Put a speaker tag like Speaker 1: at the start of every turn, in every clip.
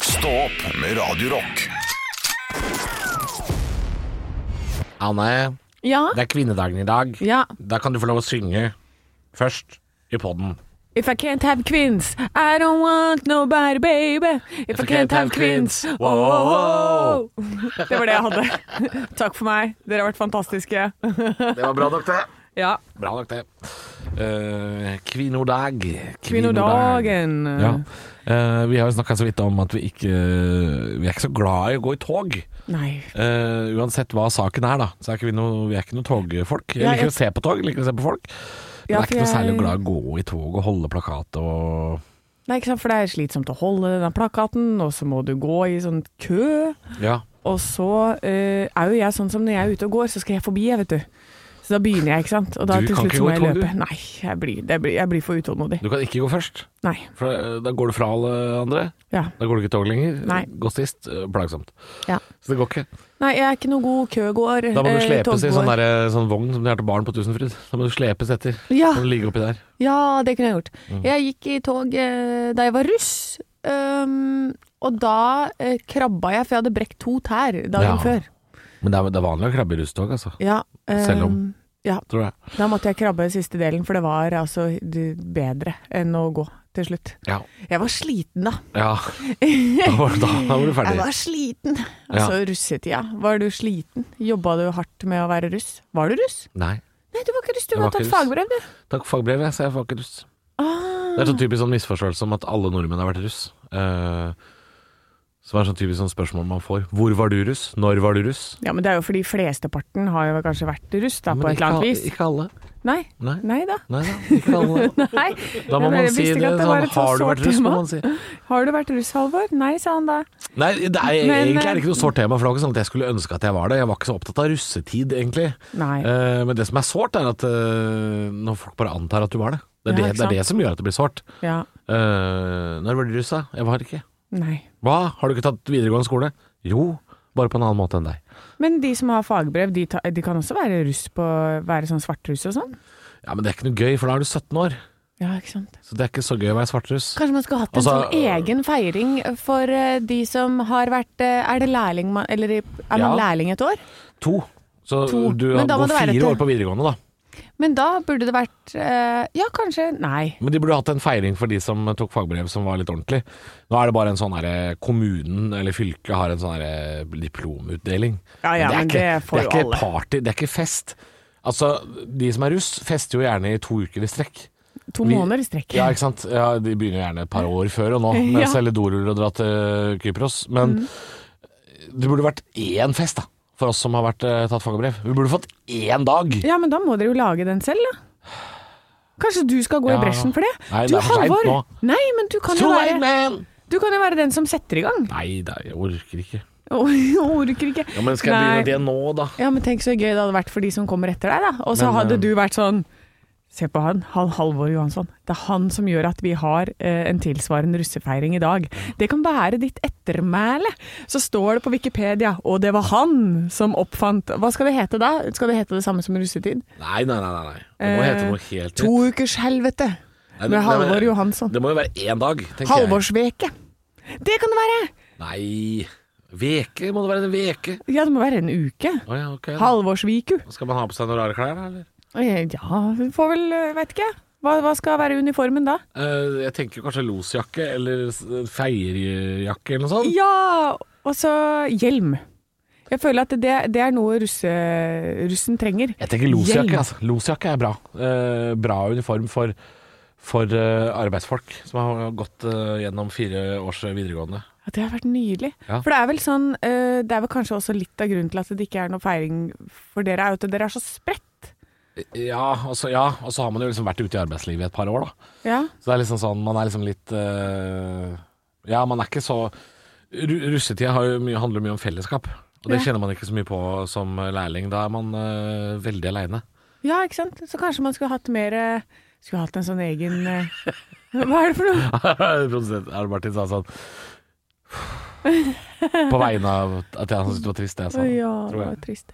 Speaker 1: Stå opp med Radio Rock.
Speaker 2: Anne,
Speaker 3: Ja.
Speaker 2: det er kvinnedagen i dag.
Speaker 3: ja.
Speaker 2: Da kan du få lov å synge først i podden.
Speaker 3: If I can't have queens, I don't want nobody, baby. If, I can't have queens,
Speaker 2: Wow, wow, wow.
Speaker 3: oh. Det var det jeg hadde. Takk for meg. Dere har vært fantastiske.
Speaker 2: Det var bra nok, det.
Speaker 3: Ja.
Speaker 2: Bra nok, det. Eh, kvinnodag.
Speaker 3: Kvinnodagen.
Speaker 2: Ja. Eh, vi har jo snakka så vidt om at vi ikke Vi er ikke så glad i å gå i tog.
Speaker 3: Nei.
Speaker 2: Eh, uansett hva saken er, da, så er ikke vi, noe, vi er ikke noe togfolk. Jeg
Speaker 3: Ja,
Speaker 2: liker
Speaker 3: jeg-
Speaker 2: å se på tog, liker å se på folk. Men jeg er
Speaker 3: Ja, for
Speaker 2: ikke noe
Speaker 3: jeg-
Speaker 2: særlig glad i å gå i tog og holde plakat og
Speaker 3: Nei, ikke sant, for det er slitsomt å holde den plakaten, og så må du gå i sånn kø.
Speaker 2: Ja.
Speaker 3: Og så eh, er jo jeg sånn som når jeg er ute og går, så skal jeg forbi, jeg, vet du. Så da begynner jeg, ikke sant. Og da
Speaker 2: Du
Speaker 3: til
Speaker 2: kan
Speaker 3: slutt
Speaker 2: ikke
Speaker 3: så
Speaker 2: gå
Speaker 3: må
Speaker 2: i
Speaker 3: jeg
Speaker 2: tog, du.
Speaker 3: løpe. Nei, jeg blir, det blir, jeg blir for utålmodig.
Speaker 2: Du kan ikke gå først,
Speaker 3: Nei.
Speaker 2: for eh, da går du fra alle andre.
Speaker 3: Ja.
Speaker 2: Da går du ikke i tog lenger.
Speaker 3: Nei.
Speaker 2: Gå sist. eh, Plagsomt.
Speaker 3: Ja.
Speaker 2: Så det går ikke.
Speaker 3: Nei, jeg er ikke noe god køgåer.
Speaker 2: Da må du
Speaker 3: eh,
Speaker 2: slepes i
Speaker 3: toggåer.
Speaker 2: sånn, der, sånn vogn som de har til barn på Tusenfryd. Da må du slepes etter.
Speaker 4: Ja,
Speaker 2: Da må du ligge oppi der.
Speaker 4: ja, det kunne jeg gjort.
Speaker 2: Mm.
Speaker 4: Jeg gikk i tog eh, da jeg var russ. ehm, og da eh, krabba jeg, for jeg hadde brekt to tær dagen
Speaker 2: Ja.
Speaker 4: før.
Speaker 2: Men det er, det er vanlig å krabbe i rusttog, altså.
Speaker 3: Ja,
Speaker 2: Selv om.
Speaker 3: ehm,
Speaker 2: Tror jeg.
Speaker 3: Da måtte jeg krabbe siste delen, for det var altså d- bedre enn å gå til slutt.
Speaker 2: Ja.
Speaker 3: Jeg var sliten, da.
Speaker 2: ja. Da, var, da, da var du
Speaker 4: Jeg
Speaker 2: ferdig.
Speaker 4: var sliten.
Speaker 3: Altså russetida. Var du sliten? Jobba du hardt med å være russ? Var du russ?
Speaker 2: Nei.
Speaker 4: Nei, du var ikke russ, du
Speaker 2: Jeg var
Speaker 4: var tatt
Speaker 2: ikke russ.
Speaker 4: fagbrev, du.
Speaker 2: Takk for fagbrevet, så jeg får ikke russ.
Speaker 3: Ah.
Speaker 2: Det er sånn typisk sånn misforståelse om at alle nordmenn har vært russ. Eh, som er sånn typisk sånn spørsmål man får. Hvor var du russ? Når var du russ?
Speaker 3: Ja, men det er jo fordi flesteparten har jo kanskje vært russ, da,
Speaker 2: Men
Speaker 3: på et
Speaker 2: ikke
Speaker 3: eller
Speaker 2: al-
Speaker 3: annet vis.
Speaker 2: Ikke alle.
Speaker 3: Nei.
Speaker 2: Nei.
Speaker 3: Nei da.
Speaker 2: Nei da, ikke alle.
Speaker 3: Nei.
Speaker 2: Da må
Speaker 3: Men
Speaker 2: man
Speaker 3: jeg
Speaker 2: si
Speaker 3: visste
Speaker 2: det.
Speaker 3: ikke at det var
Speaker 2: Sånn,
Speaker 3: et så
Speaker 2: har du vært
Speaker 3: sårt
Speaker 2: russ, må
Speaker 3: tema.
Speaker 2: man si.
Speaker 3: Har du vært russ, Halvor? Nei, sa han da.
Speaker 2: Nei, det er,
Speaker 3: Men,
Speaker 2: egentlig er
Speaker 3: eh,
Speaker 2: det ikke noe sårt tema, for det var ikke sånn at jeg skulle ønske at jeg var det. Jeg var ikke så opptatt av russetid, egentlig.
Speaker 3: Nei.
Speaker 2: Eh, men det som er sårt, er at eh, når folk bare antar at du var det. Det er,
Speaker 3: Ja,
Speaker 2: det,
Speaker 3: ikke
Speaker 2: det,
Speaker 3: sant?
Speaker 2: er det som gjør at det blir sårt.
Speaker 3: Ja.
Speaker 2: Eh, når var du russ, da? Jeg var ikke.
Speaker 3: Nei.
Speaker 2: Hva? Har du ikke tatt videregående skole? Jo, bare på en annen måte enn deg.
Speaker 3: Men de som har fagbrev, de, ta, de kan også være russ på Være sånn svartruss og sånn?
Speaker 2: Ja, men det er ikke noe gøy, for da er du 17 år.
Speaker 3: Ja, ikke sant.
Speaker 2: Så det er ikke så gøy å være svartruss.
Speaker 4: Kanskje man skulle hatt en
Speaker 2: Altså,
Speaker 4: sånn egen feiring for eh, de som har vært eh, Er det lærling man Eller er man
Speaker 2: Ja.
Speaker 4: lærling et år?
Speaker 2: To. Så
Speaker 4: To.
Speaker 2: du
Speaker 4: Men da må
Speaker 2: går
Speaker 4: det være
Speaker 2: fire
Speaker 4: til.
Speaker 2: år på videregående, da.
Speaker 4: Men da burde det vært eh, Ja, kanskje
Speaker 3: Nei.
Speaker 2: Men de burde hatt en feiring for de som tok fagbrev som var litt ordentlig. Nå er det bare en sånn herre Kommunen eller fylket har en sånn herre diplomutdeling.
Speaker 3: Ja, ja, men det får
Speaker 2: det er
Speaker 3: jo
Speaker 2: ikke
Speaker 3: alle.
Speaker 2: party, det er ikke fest. Altså, de som er russ, fester jo gjerne i to uker i strekk.
Speaker 3: To
Speaker 2: Vi-
Speaker 3: måneder i strekk.
Speaker 2: Ja, ikke sant? Ja, de begynner jo gjerne et par år før og nå, med å
Speaker 3: Ja. Mm.
Speaker 2: selge doruller og dra til Kypros. Men det burde vært én fest, da. For oss som har vært, eh, tatt fagbrev. Vi burde fått én dag.
Speaker 3: Ja, men da må dere jo lage den selv, da. Kanskje du skal gå
Speaker 2: Ja.
Speaker 3: i bresjen for det?
Speaker 2: Nei,
Speaker 3: du,
Speaker 2: det er for seint
Speaker 3: Halvor,
Speaker 2: nå.
Speaker 3: Nei, men du kan, jo
Speaker 2: Tro meg,
Speaker 3: være,
Speaker 2: men!
Speaker 3: du kan jo være den som setter i gang.
Speaker 2: Nei da, jeg orker ikke.
Speaker 3: Å, jeg Orker ikke.
Speaker 2: Ja, men skal jeg
Speaker 3: Nei.
Speaker 2: begynne det nå, da?
Speaker 3: Ja, men tenk så gøy det hadde vært for de som kommer etter deg, da. Og så
Speaker 2: Men,
Speaker 3: hadde
Speaker 2: eh,
Speaker 3: du vært sånn Se på han, han Halvor Johansson. Det er han som gjør at vi har eh, en tilsvarende russefeiring i dag. Det kan være ditt ettermæle. Så står det på Wikipedia, og det var han som oppfant Hva skal det hete da? Skal det hete det samme som russetid?
Speaker 2: Nei, nei, nei. nei, nei. Det må
Speaker 3: Eh,
Speaker 2: hete noe helt
Speaker 3: To ukers helvete
Speaker 2: Nei,
Speaker 3: med
Speaker 2: det- nei,
Speaker 3: Halvor
Speaker 2: men-
Speaker 3: Johansson.
Speaker 2: Det må jo være én dag, tenker
Speaker 3: Halvorsveke. Det kan det være!
Speaker 2: jeg. Nei Veke? Må det være en veke?
Speaker 3: Ja, det må være en uke.
Speaker 2: Å ja, ok.
Speaker 3: Halvorsviku.
Speaker 2: Skal man ha på seg noen rare klær, da, eller?
Speaker 3: Eh, Ja, vi får vel eh, Vet ikke. Hva, hva skal være uniformen da?
Speaker 2: Eh, jeg tenker kanskje losjakke eller s- feierjakke eller noe sånt.
Speaker 3: Ja, og så hjelm. Jeg føler at det, det er noe russe, russen trenger.
Speaker 2: Jeg tenker losjakke.
Speaker 3: Hjelm.
Speaker 2: Altså. Losjakke er bra. Eh, bra uniform for, for eh, arbeidsfolk som har gått eh, gjennom fire års eh, videregående.
Speaker 3: Ja, det har vært nydelig.
Speaker 2: Ja.
Speaker 3: For det er vel sånn eh, Det er vel kanskje også litt av grunnen til at det ikke er noe feiring for dere, er jo at dere er så spredt.
Speaker 2: Ja, og så ja, og så har man jo liksom vært ute i arbeidslivet i et par år, da.
Speaker 3: Ja.
Speaker 2: Så det er liksom sånn, man er liksom litt eh, Ja, man er ikke så Ru Russetida har jo mye, handler mye om fellesskap. Og det
Speaker 3: Ja.
Speaker 2: kjenner man ikke så mye på som lærling. Da er man eh, veldig aleine.
Speaker 3: ja, ikke sant? Så kanskje man skulle hatt mer eh, Skulle hatt en sånn egen eh, Hva er det for noe?
Speaker 2: Produsent Arne Martin sa sånn På vegne av at jeg syntes det var trist, det sånn." jeg sa.
Speaker 3: Å ja, det
Speaker 2: tror jeg.
Speaker 3: var trist.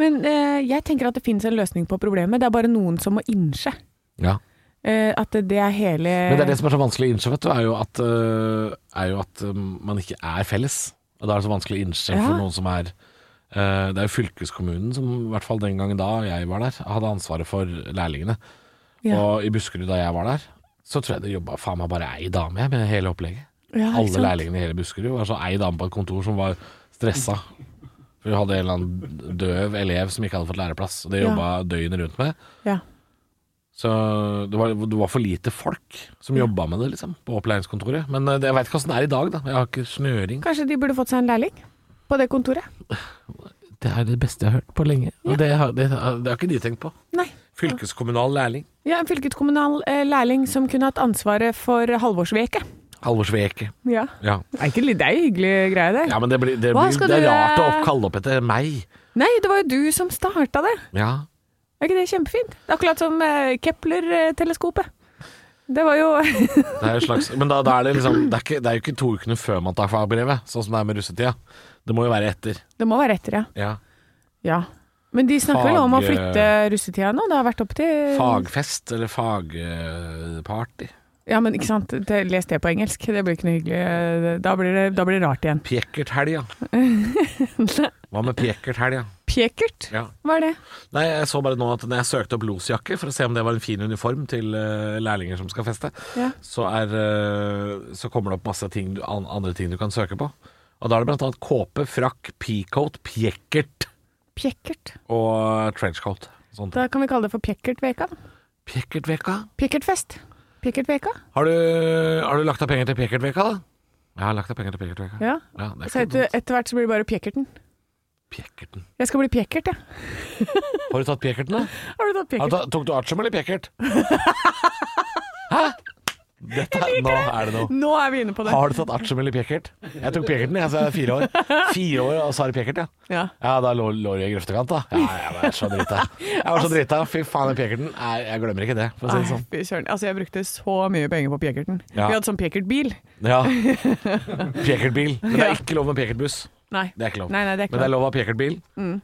Speaker 3: Men eh, jeg tenker at det finnes en løsning på problemet. Det er bare noen som må innse.
Speaker 2: Ja.
Speaker 3: Eh, at det er hele
Speaker 2: Men det er det som er så vanskelig å innse, vet du, er jo at, øh, er jo at øh, man ikke er felles. Og da er det så vanskelig å innse
Speaker 3: Ja.
Speaker 2: for noen som er øh, Det er jo fylkeskommunen som, i hvert fall den gangen da jeg var der, hadde ansvaret for lærlingene.
Speaker 3: Ja.
Speaker 2: Og i Buskerud da jeg var der, så tror jeg det jobba faen meg bare ei dame jeg, med hele opplegget.
Speaker 3: Ja, ikke
Speaker 2: Alle
Speaker 3: sant?
Speaker 2: lærlingene i hele Buskerud var så ei dame på et kontor som var stressa. For hun hadde en eller annen døv elev som ikke hadde fått læreplass, og det
Speaker 3: Ja.
Speaker 2: jobba døgnet rundt med.
Speaker 3: Ja.
Speaker 2: Så det var, det var for lite folk som jobba med det, liksom, på opplæringskontoret. Men eh, det- jeg veit ikke åssen det er i dag, da. Jeg har ikke snøring.
Speaker 3: Kanskje de burde fått seg en lærling på det kontoret?
Speaker 2: Det er det beste jeg har hørt på lenge. Og det, har, det, har- det har ikke de tenkt på.
Speaker 3: Nei.
Speaker 2: Fylkeskommunal lærling.
Speaker 3: Ja, En fylkeskommunal eh, lærling som kunne hatt ansvaret for halvårsveke.
Speaker 2: Halvor Sveke.
Speaker 3: Ja.
Speaker 2: Ja.
Speaker 3: Det er, ikke, litt- det er jo hyggelig greie, det.
Speaker 2: ja, men det, blir, det,
Speaker 4: Hva
Speaker 2: blir,
Speaker 4: skal
Speaker 2: det er
Speaker 4: du,
Speaker 2: rart å
Speaker 4: eh,
Speaker 2: kalle opp etter meg.
Speaker 3: Nei, det var jo du som starta det.
Speaker 2: Ja.
Speaker 3: Er ikke det kjempefint? Det er akkurat som eh, Kepler-teleskopet. Det var jo
Speaker 2: Det er et slags, men da, da er det liksom det er, ikke, det er jo ikke to ukene før man tar fagbrevet, sånn som det er med russetida. Det må jo være etter.
Speaker 3: Det må være etter, ja.
Speaker 2: Ja.
Speaker 3: ja. Men de snakker vel om
Speaker 2: Fag-
Speaker 3: å
Speaker 2: eh,
Speaker 3: flytte russetida nå? Det har vært opp til
Speaker 2: Fagfest eller fagparty.
Speaker 3: Ja, men ikke sant. Det- Les det på engelsk. Det blir ikke noe hyggelig. Da blir det, da blir det rart igjen.
Speaker 2: Pjekkerthelga. Hva med pjekkerthelga?
Speaker 3: Pjekert?
Speaker 2: Ja.
Speaker 3: Hva er det?
Speaker 2: Nei, jeg så bare nå at når jeg søkte opp losjakke for å se om det var en fin uniform til eh, lærlinger som skal feste,
Speaker 3: Ja.
Speaker 2: så, er, eh, så kommer det opp masse ting, du- an, andre ting du kan søke på. Og da er det blant annet kåpe, frakk, peacoat, pjekkert
Speaker 3: Pjekkert.
Speaker 2: og trenchcoat. Sånt.
Speaker 3: Da kan vi kalle det for Pjekkertveka. da.
Speaker 2: Pjekkertveka.
Speaker 3: Pjekkertfest. Pjekkertveka.
Speaker 2: Har du, har du lagt av penger til Pekkertveka, da? Jeg har lagt av penger til Pekkertveka.
Speaker 3: Ja.
Speaker 2: det
Speaker 3: Så
Speaker 2: er ikke
Speaker 3: etter,
Speaker 2: dumt.
Speaker 3: etter hvert så blir det bare Pjekkerten.
Speaker 2: Pjekkerten.
Speaker 3: Jeg skal bli Pjekkert, jeg.
Speaker 2: Har du tatt Pjekkerten, da?
Speaker 3: Ja. Har du tatt
Speaker 2: Har du
Speaker 3: Pjekkert?
Speaker 2: ta, tok du artium eller Pjekkert? Hæ? Dette, nå er det noe.
Speaker 3: Nå er vi inne på det.
Speaker 2: Har du tatt artium eller Pjekkert? Jeg tok Pjekkerten, jeg, så jeg er fire år. Fire år, og så har jeg Pjekkert, ja.
Speaker 3: Ja.
Speaker 2: Ja, da lå, lå du i grøftekant, da. Ja, jeg var så drita. Jeg var så drita. Fy faen, den Pjekkerten. Nei, jeg glemmer ikke det, for å si
Speaker 3: Nei,
Speaker 2: det sånn.
Speaker 3: fy søren. Altså, jeg brukte så mye penger på Pjekkerten.
Speaker 2: Ja.
Speaker 3: Vi hadde sånn Pjekkert-bil.
Speaker 2: Ja. Pjekkertbil. Men det er ikke lov med Pjekkertbuss.
Speaker 3: Nei.
Speaker 2: Det er ikke lov.
Speaker 3: Nei, nei, det er ikke
Speaker 2: Men det er
Speaker 3: lov.
Speaker 2: lov å ha Pjekkertbil. Mm.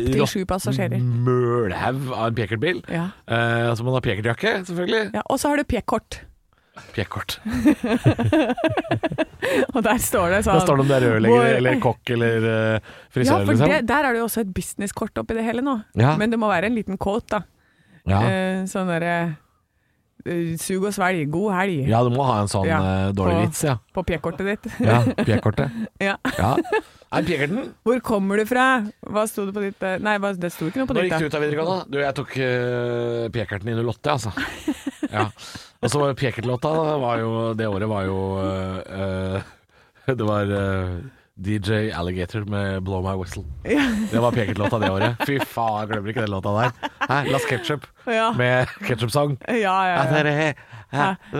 Speaker 3: Opp til sju passasjerer.
Speaker 2: Mølhaug av en Pjekkertbil.
Speaker 3: Ja.
Speaker 2: Eh, så må man ha Pjekkertjakke, selvfølgelig.
Speaker 3: Ja, og så har du Pjekkort.
Speaker 2: Pjekkort.
Speaker 3: Og der står det sånn
Speaker 2: Da står det om du er rørlegger
Speaker 3: Vår-
Speaker 2: eller kokk eller eh,
Speaker 3: Ja,
Speaker 2: frisør,
Speaker 3: for
Speaker 2: liksom.
Speaker 3: det, der er det jo også et businesskort oppi det hele nå.
Speaker 2: Ja.
Speaker 3: Men det må være en liten quote, da.
Speaker 2: Ja.
Speaker 3: Eh, sånn derre eh, Sug og svelg, god helg
Speaker 2: ja, du må ha en sånn
Speaker 3: Ja,
Speaker 2: eh, dårlig
Speaker 3: på-
Speaker 2: vits, ja.
Speaker 3: på P-kortet ditt.
Speaker 2: Ja, Pjekkortet.
Speaker 3: ja.
Speaker 2: Ja. Nei, Pjekkerten.
Speaker 3: Hvor kommer du fra? Hva sto det på ditt eh, Nei, hva- det sto ikke noe på
Speaker 2: Når
Speaker 3: ditt.
Speaker 2: gikk du
Speaker 3: da.
Speaker 2: ut av videregående? Du, jeg tok uh, Pjekkerten i 08, altså. Ja. Og så var jo Pjekkertlåta var jo, Det året var jo eh, eh, Det var eh, DJ Alligator med 'Blow My Whistle'. Det var Pekert-låta det året. Fy faen, jeg glemmer ikke den låta der. Hæ? Las Ketchup
Speaker 3: Ja.
Speaker 2: med ketchup-sang.
Speaker 3: Ja, ja, ja.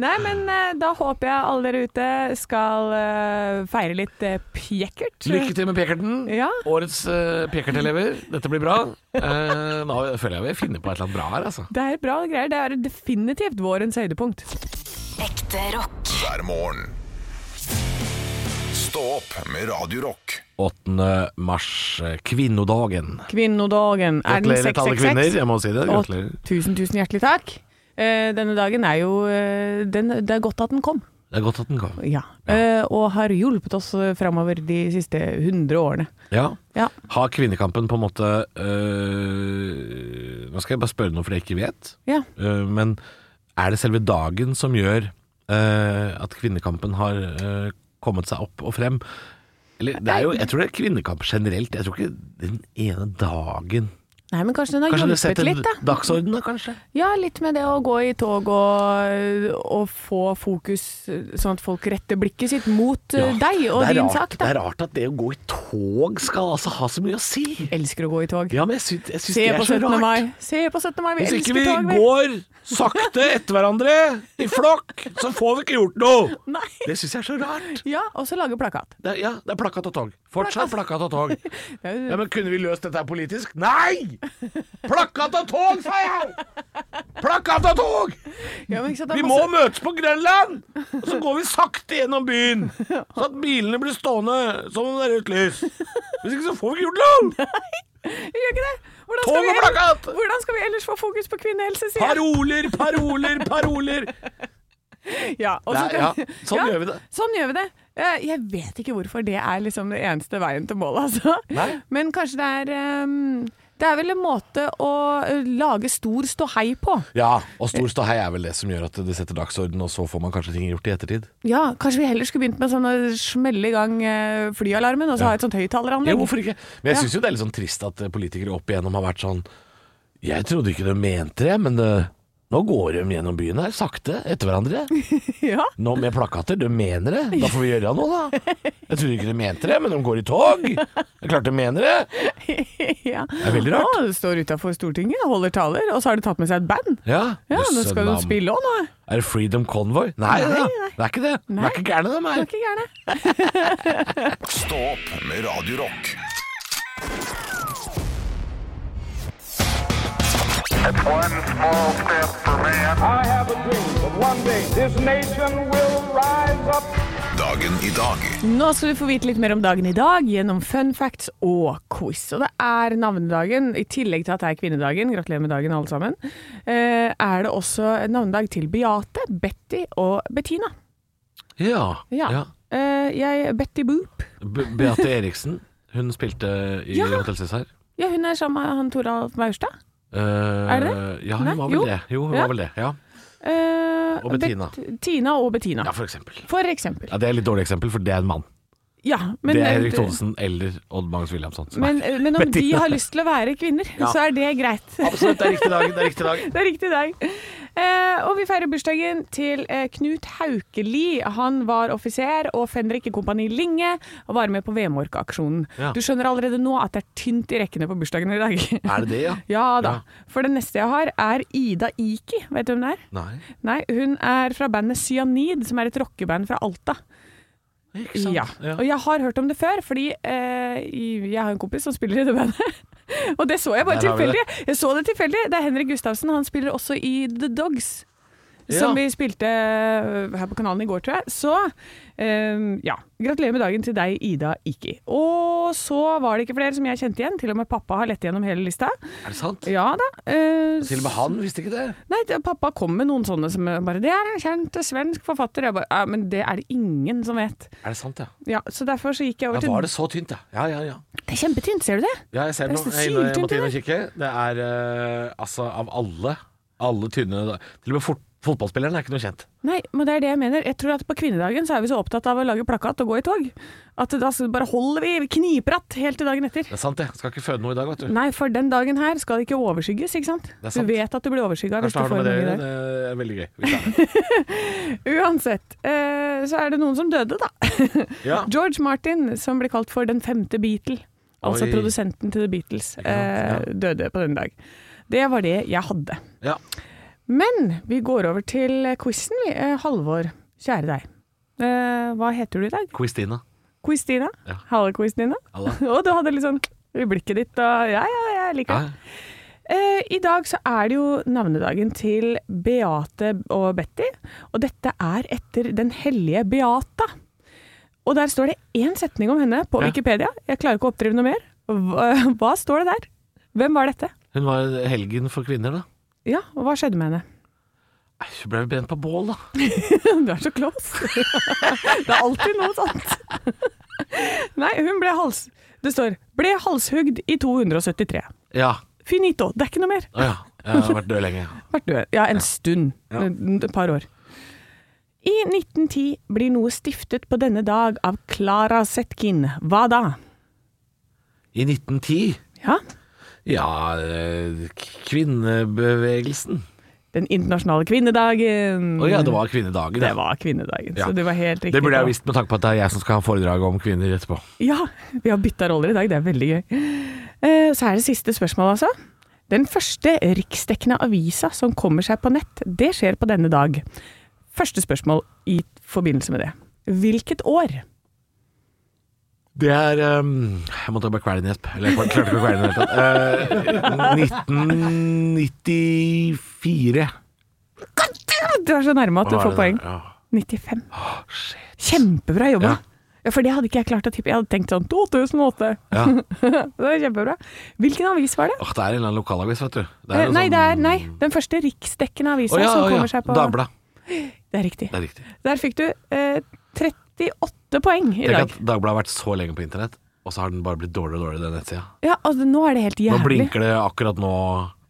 Speaker 3: Nei, men eh, da håper jeg alle dere ute skal eh, feire litt eh, pjekkert.
Speaker 2: Lykke til med Pekerten.
Speaker 3: Ja.
Speaker 2: Årets uh, Pekert-elever. Dette blir bra. Eh, nå føler jeg vi finner på et eller annet bra her, altså.
Speaker 3: Det er bra greier. Det er definitivt vårens høydepunkt.
Speaker 5: Ekte rock.
Speaker 1: hver morgen. Stå opp med Radio Rock.
Speaker 2: 8. mars, eh, kvinnodagen.
Speaker 3: Kvinnodagen er den
Speaker 2: Gratulerer til alle kvinner.
Speaker 3: 666.
Speaker 2: Jeg må si det.
Speaker 3: Og
Speaker 2: Gratulerer.
Speaker 3: tusen, tusen hjertelig takk. Eh, denne dagen er jo eh, den, Det er godt at den kom.
Speaker 2: Det er godt at den kom.
Speaker 3: Ja. Eh, og har hjulpet oss framover de siste 100 årene.
Speaker 2: Ja.
Speaker 3: Ja.
Speaker 2: Har kvinnekampen på en måte eh, Nå skal jeg bare spørre noe, for det jeg ikke vet.
Speaker 3: ja.
Speaker 2: Eh, Men er det selve dagen som gjør eh, at kvinnekampen har eh, kommet seg opp og frem? Eller, det er jo, jeg tror det er kvinnekamp generelt. Jeg tror ikke den ene dagen
Speaker 3: Nei, men kanskje den har
Speaker 2: Kanskje det
Speaker 3: hjulpet
Speaker 2: setter
Speaker 3: litt, da.
Speaker 2: dagsordenen, da, kanskje?
Speaker 3: Ja, litt med det å gå i tog og, og få fokus, sånn at folk retter blikket sitt mot eh,
Speaker 2: Ja,
Speaker 3: deg og
Speaker 2: det er
Speaker 3: din
Speaker 2: rart,
Speaker 3: sak.
Speaker 2: Det
Speaker 3: Da.
Speaker 2: er rart at det å gå i tog skal altså ha så mye å si.
Speaker 3: Elsker å gå i tog.
Speaker 2: Ja, men jeg syns, jeg syns
Speaker 3: Se
Speaker 2: det er
Speaker 3: på
Speaker 2: så
Speaker 3: 17.
Speaker 2: rart.
Speaker 3: mai! Se på 17. mai, vi
Speaker 2: Hvis ikke
Speaker 3: elsker
Speaker 2: vi
Speaker 3: tog! vi.
Speaker 2: går sakte etter hverandre i flokk, så får vi ikke gjort noe.
Speaker 3: Nei.
Speaker 2: Det syns jeg er så rart.
Speaker 3: Ja, og så lage plakat.
Speaker 2: Det er, ja, det er plakkat og tog. Fortsatt plakkat og tog.
Speaker 3: Det er jo-
Speaker 2: Ja, men Kunne vi løst dette her politisk? Nei! Plakkat og tog, sa jeg! Plakkat og tog!
Speaker 3: Ja, men ikke sant, det er
Speaker 2: Vi må
Speaker 3: masse-
Speaker 2: møtes på Grønland! Og så går vi sakte gjennom byen, så at bilene blir stående som om det er rødt lys. Hvis ikke så får vi ikke gjort noe!
Speaker 3: Vi gjør ikke det! Hvordan skal,
Speaker 2: Tog og
Speaker 3: vi ellers,
Speaker 2: plakat!
Speaker 3: hvordan skal vi ellers få fokus på kvinnehelse, sier jeg?
Speaker 2: Paroler, paroler, paroler!
Speaker 3: Ja, og så
Speaker 2: Nei,
Speaker 3: kan-
Speaker 2: ja, sånn gjør vi det.
Speaker 3: Sånn gjør vi det. Eh, Jeg vet ikke hvorfor det er liksom det eneste veien til målet, altså.
Speaker 2: Nei.
Speaker 3: Men kanskje det er ehm, Det er vel en måte å eh, lage stor ståhei på.
Speaker 2: Ja, og stor ståhei er vel det som gjør at det setter dagsorden, og så får man kanskje ting gjort i ettertid.
Speaker 3: Ja, kanskje vi heller skulle begynt med sånn å smelle i gang eh, flyalarmen, og så ha et sånt
Speaker 2: Ja,
Speaker 3: høyttaleranlegg.
Speaker 2: hvorfor ikke? Men jeg
Speaker 3: Ja.
Speaker 2: syns jo det er litt sånn trist at eh, politikere opp igjennom har vært sånn Jeg trodde ikke de mente det, men eh, nå går de gjennom byen her, sakte, etter hverandre.
Speaker 3: Ja,
Speaker 2: Nå med plakater. De mener det. Da får vi gjøre noe, da. Jeg trodde ikke de mente det, men de går i tog. Det er klart de mener det.
Speaker 3: ja.
Speaker 2: Det er veldig rart.
Speaker 3: Å, du står utafor Stortinget, holder taler, og så har du tatt med seg et band.
Speaker 2: Ja,
Speaker 3: Ja,
Speaker 2: jøsse
Speaker 3: nå skal du
Speaker 2: navn.
Speaker 3: spille òg, nå.
Speaker 2: Er det Freedom Convoy? Nei, da. det er ikke det. De
Speaker 3: Nei.
Speaker 2: er ikke gærne, de
Speaker 3: Det
Speaker 2: her.
Speaker 3: er ikke gærne.
Speaker 1: Stå opp med Radio Rock.
Speaker 6: One small step for man.
Speaker 7: I have a dream that one day this nation will rise up.
Speaker 1: Dagen i dag.
Speaker 3: Nå skal du få vite litt mer om dagen i dag gjennom fun facts og quiz. Og det er navnedagen, i tillegg til at det er kvinnedagen. Gratulerer med dagen, alle sammen. Eh, er det også navnedag til Beate, Betty og Bettina.
Speaker 2: Ja.
Speaker 3: Ja.
Speaker 2: ja.
Speaker 3: Eh, jeg, Betty Boop.
Speaker 2: Be- Beate Eriksen, hun spilte i
Speaker 3: Ja.
Speaker 2: Hotell Cæsar.
Speaker 3: Ja, hun er sammen med han Toralf Maurstad.
Speaker 2: Eh,
Speaker 3: Er det
Speaker 2: Ja, hun
Speaker 3: Nei,
Speaker 2: var vel
Speaker 3: jo.
Speaker 2: det. Jo, hun
Speaker 3: Ja.
Speaker 2: var vel det. Ja.
Speaker 3: Eh,
Speaker 2: Og Bettina.
Speaker 3: Bet Tina og Bettina,
Speaker 2: ja, for eksempel.
Speaker 3: for eksempel.
Speaker 2: Ja, Det er et litt dårlig eksempel, for det er en mann.
Speaker 3: Ja, men, eh,
Speaker 2: det er Erik Thonsen eller Odd Magnus Williamson. som
Speaker 3: Men,
Speaker 2: er.
Speaker 3: men om de
Speaker 2: Bettina.
Speaker 3: har lyst til å være kvinner,
Speaker 2: Ja.
Speaker 3: så er det greit.
Speaker 2: Absolutt, det er riktig dag. Det er riktig dag.
Speaker 3: Det er riktig dag. Eh, og vi feirer bursdagen til eh, Knut Haukeli. Han var offiser og fenrik i Kompani Linge, og var med på Vemork-aksjonen.
Speaker 2: Ja.
Speaker 3: Du skjønner allerede nå at det er tynt i rekkene på bursdagen i dag.
Speaker 2: Er det det, ja?
Speaker 3: ja da.
Speaker 2: Ja.
Speaker 3: For det neste jeg har, er Ida Iki. Vet du hvem det er?
Speaker 2: Nei.
Speaker 3: Nei, hun er fra bandet Cyanid, som er et rockeband fra Alta.
Speaker 2: Ikke sant?
Speaker 3: Ja. Og jeg har hørt om det før, fordi eh, i- jeg har en kompis som spiller i det bandet. Og det så jeg bare
Speaker 2: Der har vi det.
Speaker 3: tilfeldig. Jeg så det tilfeldig. Det er Henrik Gustavsen. Han spiller også i The Dogs. Som
Speaker 2: Ja.
Speaker 3: vi spilte eh, her på kanalen i går, tror jeg. Så eh, ja. Gratulerer med dagen til deg, Ida Iki. Og så var det ikke flere som jeg kjente igjen. Til og med pappa har lett gjennom hele lista.
Speaker 2: Er det sant?
Speaker 3: Ja da. eh,
Speaker 2: Til og med han visste ikke det.
Speaker 3: Nei, det- pappa kom med noen sånne som bare 'Det er en kjent svensk forfatter'. Jeg bare, ja, men det er det ingen som vet.
Speaker 2: Er det sant, ja?
Speaker 3: Ja, så derfor så gikk jeg over
Speaker 2: Da
Speaker 3: til
Speaker 2: var det så tynt, ja. Ja, ja, ja.
Speaker 3: Det er kjempetynt, ser du det?
Speaker 2: ja jeg ser
Speaker 3: Det
Speaker 2: det nå.
Speaker 3: er
Speaker 2: Jeg
Speaker 3: så
Speaker 2: er inne- jeg
Speaker 3: syltynt,
Speaker 2: måtte inn og kikke. Det er eh, altså av alle alle tynne da- Til og med fot fotballspilleren er ikke noe kjent.
Speaker 3: Nei, men det er det jeg mener. Jeg tror at på kvinnedagen så er vi så opptatt av å lage plakat og gå i tog, at da så bare holder vi knipratt helt til dagen etter.
Speaker 2: Det er sant, det. Skal ikke føde noe i dag, vet du.
Speaker 3: Nei, for den dagen her skal det ikke overskygges, ikke sant?
Speaker 2: er sant.
Speaker 3: Du vet at du blir overskygga hvis
Speaker 2: Kanskje det
Speaker 3: du
Speaker 2: har
Speaker 3: får
Speaker 2: noe med det å
Speaker 3: noe i
Speaker 2: gjøre.
Speaker 3: dag.
Speaker 2: Det er veldig gøy. hvis det er det.
Speaker 3: Uansett, eh, så er det noen som døde, da.
Speaker 2: Ja.
Speaker 3: George Martin, som blir kalt for den femte Beatle, altså
Speaker 2: Oi.
Speaker 3: produsenten til The Beatles,
Speaker 2: sant,
Speaker 3: eh,
Speaker 2: ja.
Speaker 3: døde på den dag. Det var det jeg hadde.
Speaker 2: Ja.
Speaker 3: Men vi går over til quizen, vi. Eh, Halvor, kjære deg. Eh, hva heter du i dag?
Speaker 2: Christina.
Speaker 3: Quiz-Tina?
Speaker 2: Ja.
Speaker 3: Hallo, Quiz-Tina.
Speaker 2: Halla.
Speaker 3: Og du hadde litt sånn i blikket ditt, og ja, ja, jeg liker det.
Speaker 2: Ja.
Speaker 3: Eh, I dag så er det jo navnedagen til Beate og Betty, og dette er etter den hellige Beata. Og der står det én setning om henne på
Speaker 2: Ja.
Speaker 3: Wikipedia. Jeg klarer ikke å oppdrive noe mer. Hva, hva står det der? Hvem var dette?
Speaker 2: Hun var helgen for kvinner, da.
Speaker 3: Ja, og hva skjedde med henne?
Speaker 2: Nei, Hun ble brent på bål, da.
Speaker 3: Du er så close. det er alltid noe sånt. Nei, hun ble hals... Det står 'ble halshugd i 273'.
Speaker 2: Ja.
Speaker 3: Finito. Det er ikke noe mer.
Speaker 2: Å ja. Jeg har vært død lenge.
Speaker 3: Vært død. Ja, en stund. Et et par år. I 1910 blir noe stiftet på denne dag av Klara Zetkin. Hva da?
Speaker 2: I 1910
Speaker 3: Ja,
Speaker 2: Ja, eh, k- kvinnebevegelsen.
Speaker 3: den internasjonale kvinnedagen.
Speaker 2: Å ja, det var kvinnedagen.
Speaker 3: Det
Speaker 2: ja.
Speaker 3: var kvinnedagen,
Speaker 2: Ja.
Speaker 3: så det var helt riktig.
Speaker 2: det burde jeg
Speaker 3: på.
Speaker 2: visst med tanke på at det er jeg som skal ha foredrag om kvinner etterpå.
Speaker 3: Ja, vi har bytta roller i dag. Det er veldig gøy. Eh, Så er det siste spørsmål, altså. Den første riksdekkende avisa som kommer seg på nett, det skjer på denne dag. Første spørsmål i forbindelse med det. Hvilket år?
Speaker 2: Det er ehm, Jeg måtte bare kvele en gjesp. Eller jeg klarte ikke å kvele den i det hele tatt. Eh, 1994.
Speaker 3: Ah, Du er så nærme at du
Speaker 2: Hva
Speaker 3: får
Speaker 2: er det
Speaker 3: poeng.
Speaker 2: der? Ja.
Speaker 3: 95. Kjempebra jobba.
Speaker 2: Ja.
Speaker 3: Ja, For det hadde ikke jeg klart å tippe. Jeg hadde tenkt sånn 2008.
Speaker 2: Ja.
Speaker 3: Det var kjempebra. Hvilken avis var det?
Speaker 2: Åh, det er en eller annen lokalavis, vet du. Det
Speaker 3: Eh,
Speaker 2: en
Speaker 3: nei,
Speaker 2: sånn-
Speaker 3: det er nei, den første riksdekkende avisa
Speaker 2: Å, ja,
Speaker 3: som
Speaker 2: å,
Speaker 3: kommer
Speaker 2: ja.
Speaker 3: seg på
Speaker 2: Dagbladet.
Speaker 3: Det er riktig.
Speaker 2: Det er riktig.
Speaker 3: Der fikk du eh, 38 poeng i
Speaker 2: Tenk
Speaker 3: dag.
Speaker 2: at Dagbladet har vært så lenge på internett, og så har den bare blitt dårligere og dårligere, den nettsida.
Speaker 3: Ja, altså, nå er det helt
Speaker 2: Nå
Speaker 3: jævlig.
Speaker 2: blinker det akkurat nå,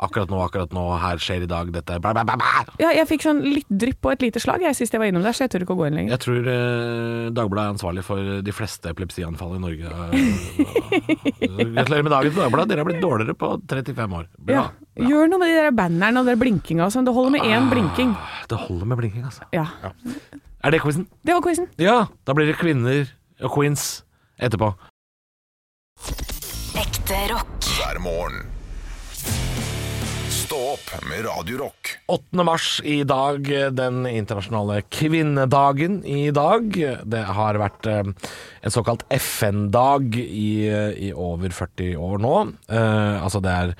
Speaker 2: akkurat nå, akkurat nå, her skjer i dag, dette er bla, bla, bla, bla.
Speaker 3: Ja, jeg fikk sånn litt drypp og et lite slag jeg sist jeg var innom der, så jeg tør ikke å gå inn lenger.
Speaker 2: Jeg tror eh, Dagbladet er ansvarlig for eh, de fleste epilepsianfall i Norge. Eh, Gratulerer med dagen til Dagbladet, dere har blitt dårligere på 35 år. Bra.
Speaker 3: Ja. Gjør noe med de der bannerne og den blinkinga og sånn. Det holder med én
Speaker 2: Ah.
Speaker 3: blinking.
Speaker 2: Det holder med blinking, altså.
Speaker 3: Ja.
Speaker 2: Er det quizen?
Speaker 3: Det var quizen.
Speaker 2: Ja, da blir det kvinner og queens etterpå.
Speaker 5: Ekte rock.
Speaker 1: hver morgen. Stå opp med Radio Rock.
Speaker 2: 8. mars i dag, den internasjonale kvinnedagen i dag. Det har vært eh, en såkalt FN-dag i, i over 40 år nå. Eh, altså det er